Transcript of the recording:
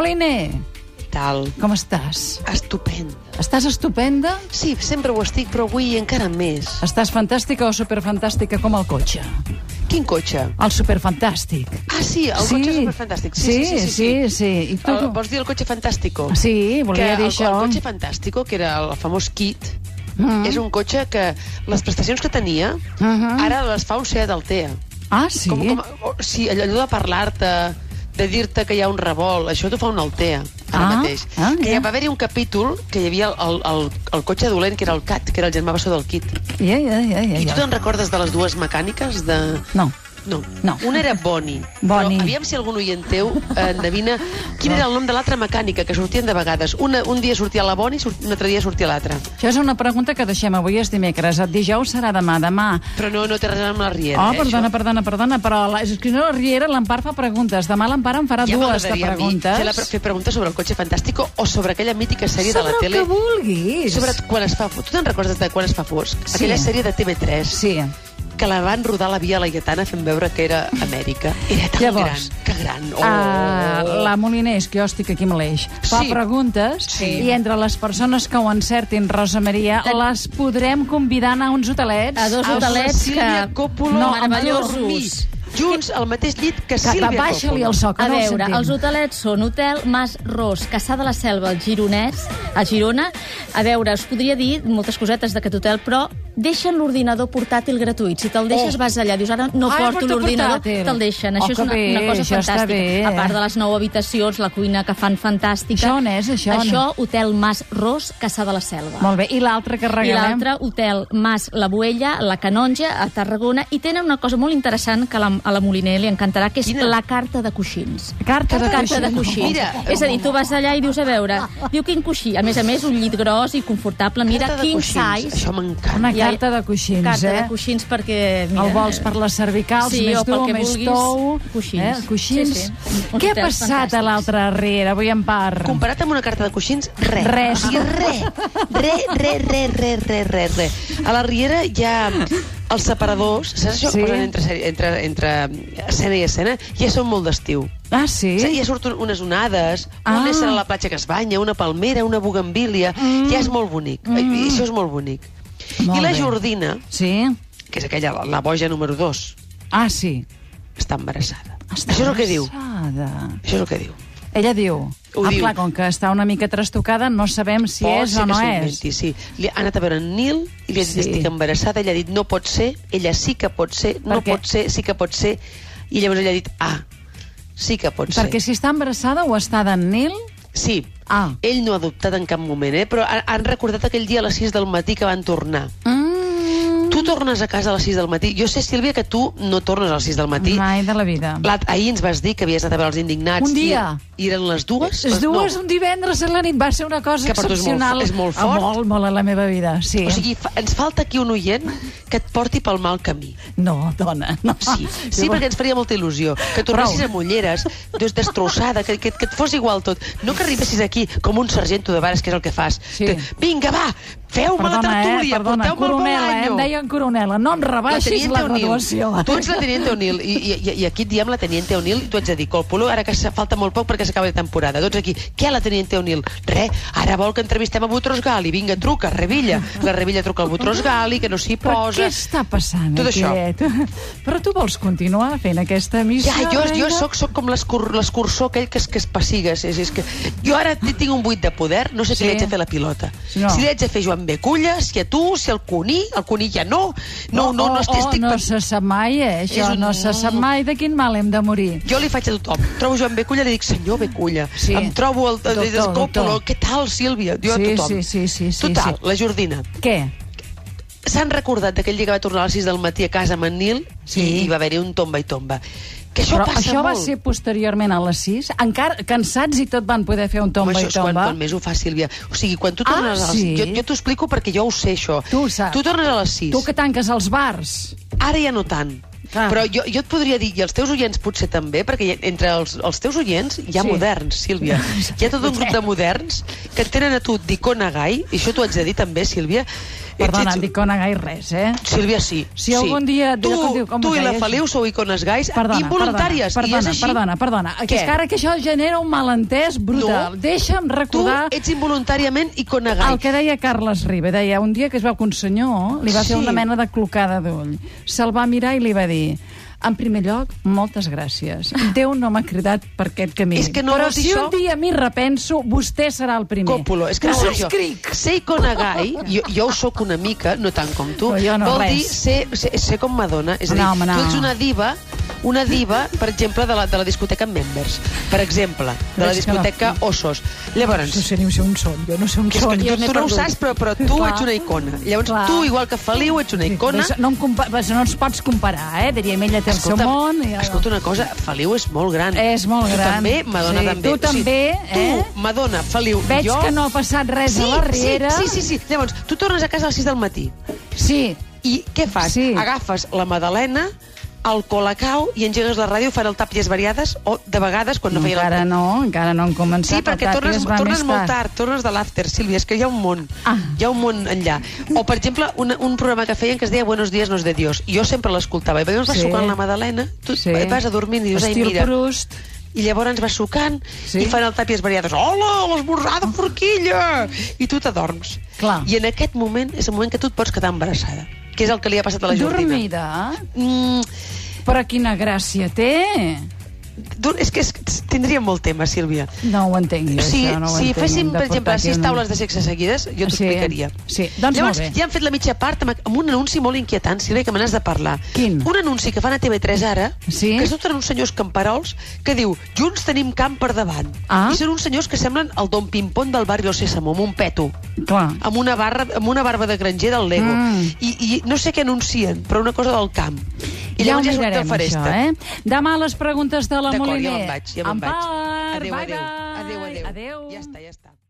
Moliner, Tal, com estàs? estupenda. Estàs estupenda? Sí, sempre ho estic, però avui encara més. Estàs fantàstica o superfantàstica com el cotxe? Quin cotxe? El superfantàstic. Ah, sí, el cotxe és superfantàstic. Sí, sí, sí. sí, sí. sí, sí. I tu, El, vols dir el cotxe fantàstico? Sí, que volia el, dir això. el cotxe fantàstico, que era el famós kit, Mm. és un cotxe que les prestacions que tenia, Mhm. ara les fa un Seat Altea. Ah, sí? Com, com, o, sí, allò allò de parlar-te, de dir-te que hi ha un revolt, això t'ho fa un Altea, ara Ah, mateix. ah, que ja. hi va haver un capítol que hi havia el, el, el, el cotxe dolent, que era el Cat, que era el germà bessó del Kit. Ja, ja, ja, ja, I tu ja. te'n recordes de les dues mecàniques? De... No. No. No. Una era Boni. Bonnie. Però aviam si algun oient teu eh, endevina quin era el nom de l'altra mecànica que sortien de vegades. Una, un dia sortia la Boni, sort, un altre dia sortia l'altra. Això és una pregunta que deixem avui és dimecres. El dijous serà demà. Demà Però no, no té res a veure amb la Riera, Oh, eh, perdona, això. perdona, perdona, però la, és que no, Riera, l'Empar fa preguntes. Demà l'Empar em farà Ja dues de m'agradaria a mi preguntes. Fer, la, fer preguntes sobre el cotxe fantàstico o sobre aquella mítica sèrie Sobre de la el tele. que vulguis. Sobre quan es fa... Tu te'n recordes de quan es fa fosc? Sí. Aquella sèrie de TV3 Sí. que la van rodar a la Via Laietana fent veure que era Amèrica. Era tan Llavors, gran, que gran. Oh. Ah, la Molinés, que jo estic aquí amb l'eix, fa Sí. preguntes Sí. i entre les persones que ho encertin, Rosa Maria, les podrem convidar a anar a uns hotelets. A dos amb hotelets Cecília que- Coppola No, van meravellosos. dormir junts al mateix llit que Que, Sílvia que baixa-li Coppola. el so, que A no veure, el els sentim. hotelets són Hotel Mas Ros, Caçà de la Selva, al Gironès, a Girona. A veure, us podria dir moltes cosetes d'aquest hotel, però deixen l'ordinador portàtil gratuït. Si te'l deixes, Oh. vas allà, dius, ara no Ai, porto porta l'ordinador, portàtil. te'l deixen. Oh, Això és que una, bé, una cosa això està fantàstica. bé, eh? A part de les nou habitacions, la cuina que fan fantàstica. Això on és, això on Això, Hotel Mas Ros, Caçà de la Selva. Molt bé, i l'altre que I regalem? l'altre, Hotel Mas La Buella, la Canonja, a Tarragona, i tenen una cosa molt interessant que a la, a la Moliner li encantarà, que és Quina? la carta de coixins. Carta de Carta de coixí. coixí. Mira. És a dir, tu vas allà i dius, a veure, diu quin coixí. A més a més, un llit gros i confortable. Mira, Carta de quin coixins. size. Això m'encanta. Una I ai- carta de coixins, Carta eh? de coixins perquè... Mira, el vols per les cervicals, Sí, més o pel dur, que més vulguis, tou... coixins. Eh? coixins. Sí, sí. Uns Què ha hotels passat a fantàstics. l'altra Riera, avui en part? Comparat amb una carta de coixins, res. Res. O sigui, res. Re, re, re, re, re, re, re. A la Riera hi ha els separadors, saps això Sí. que posen entre, sèrie- entre, entre escena i escena? Ja són molt d'estiu. Ah, sí? Sí, ja surten unes onades, Ah. ah. un ésser a la platja que es banya, una palmera, una bugambília... Mm. Ja és molt bonic. Mm. Això és molt bonic. Molt I la bé. Jordina, Sí? que és aquella, la, la boja número 2, Ah, sí. està embarassada. Està Això és el que diu. embarassada. Això és el que diu. Ella diu... Ho ah, diu. clar, com que està una mica trastocada, no sabem si Pot és ser o que no s'ho és. inventi, Sí. Li ha anat a veure en Nil i li ha dit Sí. sí. estic embarassada, ella ha dit no pot ser, ella sí que pot ser, no Perquè- pot ser, sí que pot ser, i llavors ella ha dit ah, sí que pot Perquè ser. si està embarassada o està d'en Nil... Sí, Ah. ell no ha dubtat en cap moment, eh? però han, han recordat aquell dia a les 6 del matí que van tornar. Mm, Tu tornes a casa a les 6 del matí. Jo sé, Sílvia, que tu no tornes a les 6 del matí. mai de la vida. La, ahir ens vas dir que havies anat a veure els indignats. Un dia. I, i eren les dues? Les dues, No. un divendres a la nit, va ser una cosa Que per tu és molt excepcional. fo- és molt Ah, fort. Molt, molt a la meva vida, sí. O sigui, fa, ens falta aquí un oient que et porti pel mal camí. No, dona, no. Sí, sí perquè ens faria molta il·lusió. Que tornessis Ah, Prou. amb ulleres, doncs destrossada, que, que, que et fos igual tot. No que arribessis aquí com un sargento de vares, que és el que fas. Sí. Que, Vinga, va, feu-me la Perdona, eh? tertúlia, Perdona, porteu-me al coronela, eh? Em balanyo. deien coronela. No em rebaixis la, O'Neill. graduació. Tu ets la Teniente O'Neill, i, i, i- i aquí et diem la Teniente O'Neill, i tu ets a dir, Colpolo, ara que se- falta molt poc perquè s'acaba la temporada. Doncs aquí, què la Teniente O'Neill? Re, ara vol que entrevistem a Butros Gali, vinga, truca, Revilla. La Revilla truca al Butros Gali, que no s'hi Però què posa... està passant Tot aquí? això. eh? Però tu vols continuar fent aquesta missió? Ja, jo, jo reina? sóc, sóc com l'escur- l'escurçó aquell que es, que es pessigues. És, és que jo ara ti- tinc un buit de poder, no sé Sí. si li haig de fer la pilota. Si no. Si li haig de fer Joan Beculla, si a tu, si al Cuní, el Cuní ja no. No, no, no, oh, estic, oh, estic no pen- se sap mai, eh? Això És un- no se sap mai de quin mal hem de morir. Jo li faig a tothom. Trobo Joan Beculla i li dic, senyor Beculla, Sí. sí. em trobo el, el, el, Doctor, Còpolo, doctor. què tal, Sílvia? Jo Sí, a tothom. sí, sí, sí, sí, Total, sí. la Jordina. Què? S'han recordat d'aquell dia que va tornar a les 6 del matí a casa amb en Nil Sí. i, i va haver-hi un tomba i tomba. Que això Però passa això va molt. ser posteriorment a les 6? Encara cansats i tot van poder fer un tomba Home, i això és quan, tomba? quan més ho fa, Sílvia. O sigui, quan tu Ah, tornes a les... sí? Jo, jo t'ho explico perquè jo ho sé, això. Tu ho saps. Tu tornes a les 6. Tu que tanques els bars. Ara ja no tant. Clar. Però jo, jo et podria dir, i els teus oients potser també, perquè hi ha- entre els, els teus oients hi ha Sí. sí. moderns, Sílvia. Hi ha tot un grup de moderns que et tenen a tu d'icona gai, i això t'ho haig de dir també, Sílvia, Eh, Perdona, ets- d'icona gai res, eh? Sílvia, sí. Si sí. algun dia- Tu, com diu- com tu i la deia? Feliu sou icones gais Perdona, perdona, involuntàries. I és perdona, així. perdona, perdona. Que Què? és que ara que això genera un malentès brutal. No. Deixa'm Tu recordar ets involuntàriament icona gai. el que deia Carles Riba. Deia, un dia que es veu que un senyor li va fer Sí. una mena de clocada d'ull. Se'l va mirar i li va dir... En primer lloc, moltes gràcies. Déu no m'ha cridat per aquest camí. És que no Però vol dir si un això. dia m'hi repenso, vostè serà el primer. Còpolo, és que no no soc cric. Ser icona gai, jo, jo ho sóc una mica, no tant com tu, No, jo no, vol res. dir ser, ser, ser com Madonna. És a dir, No, home, no. tu ets una diva, una diva, per exemple, de la, de la discoteca Members, per exemple, de la Però és que no. discoteca Ossos. Llavors, No sé ni on són, jo no sé on que és són. que Jo tu, n'he tu no ho perdut. saps, però, però tu Clar. ets una icona. Llavors, Clar. tu, igual que Feliu, ets una icona. Ves, No, em compa- ves, no ens pots comparar, eh? Diríem, ella té el seu món... I... escolta una cosa, Feliu és molt gran. És molt tu gran. també, Madonna Sí, també. tu també, eh? Tu, Madonna, Feliu, Veig jo... que no ha passat res Sí, a la Riera. sí, sí, sí, sí. Llavors, tu tornes a casa a les 6 del matí. Sí, I què fas? Sí. Agafes la Madalena, el colacau i engegues la ràdio, farà el tàpies variades o, de vegades, quan no, feia encara el... no, encara no han començat. Sí, el perquè tàpia tornes, es va tornes més molt tard, tornes de l'after, Sílvia, és que hi ha un món, Ah. hi ha un món enllà. O, per exemple, una, un programa que feien que es deia Buenos días, no es de Dios. Jo sempre l'escoltava, i llavors vas Sí. sucant la Madalena, tu Sí. et vas a dormir i dius, ai, Estil mira... Proust. I llavors vas sucant Sí. sí. i fan el tàpies variades. Hola, l'esmorzar de forquilla! I tu t'adorms. Clar. I en aquest moment és el moment que tu et pots quedar embarassada, que és el que li ha passat a la Jordina. Dormida. Mm, Però quina gràcia té. dur- és que és, tindríem molt tema, Sílvia. No ho entenc jo, Si, això. No ho si entenc, féssim, hem de per exemple, portar aquí sis una- taules de sexe seguides, jo t'ho Sí, explicaria. sí. Doncs Llavors, molt bé. ja han fet la mitja part amb, amb un anunci molt inquietant, Sílvia, que me n'has de parlar. Quin? Un anunci que fan a TV3 ara, Sí? que surten uns senyors camperols que diu Junts tenim camp per davant. Ah. I són uns senyors que semblen el Don Pimpón del barri del Sésamo, amb un peto Clar. amb una, barra, amb una barba de granger del Lego. Mm. I, I no sé què anuncien, però una cosa del camp. I ja ho llavors ja surt mirarem, el faresta. això, eh? Demà les preguntes de la D'acord, Moliner. ja me'n vaig, ja me'n en vaig. Part, Adéu, bye, adéu. bye. Adéu, adéu. Adéu. Ja està, ja està.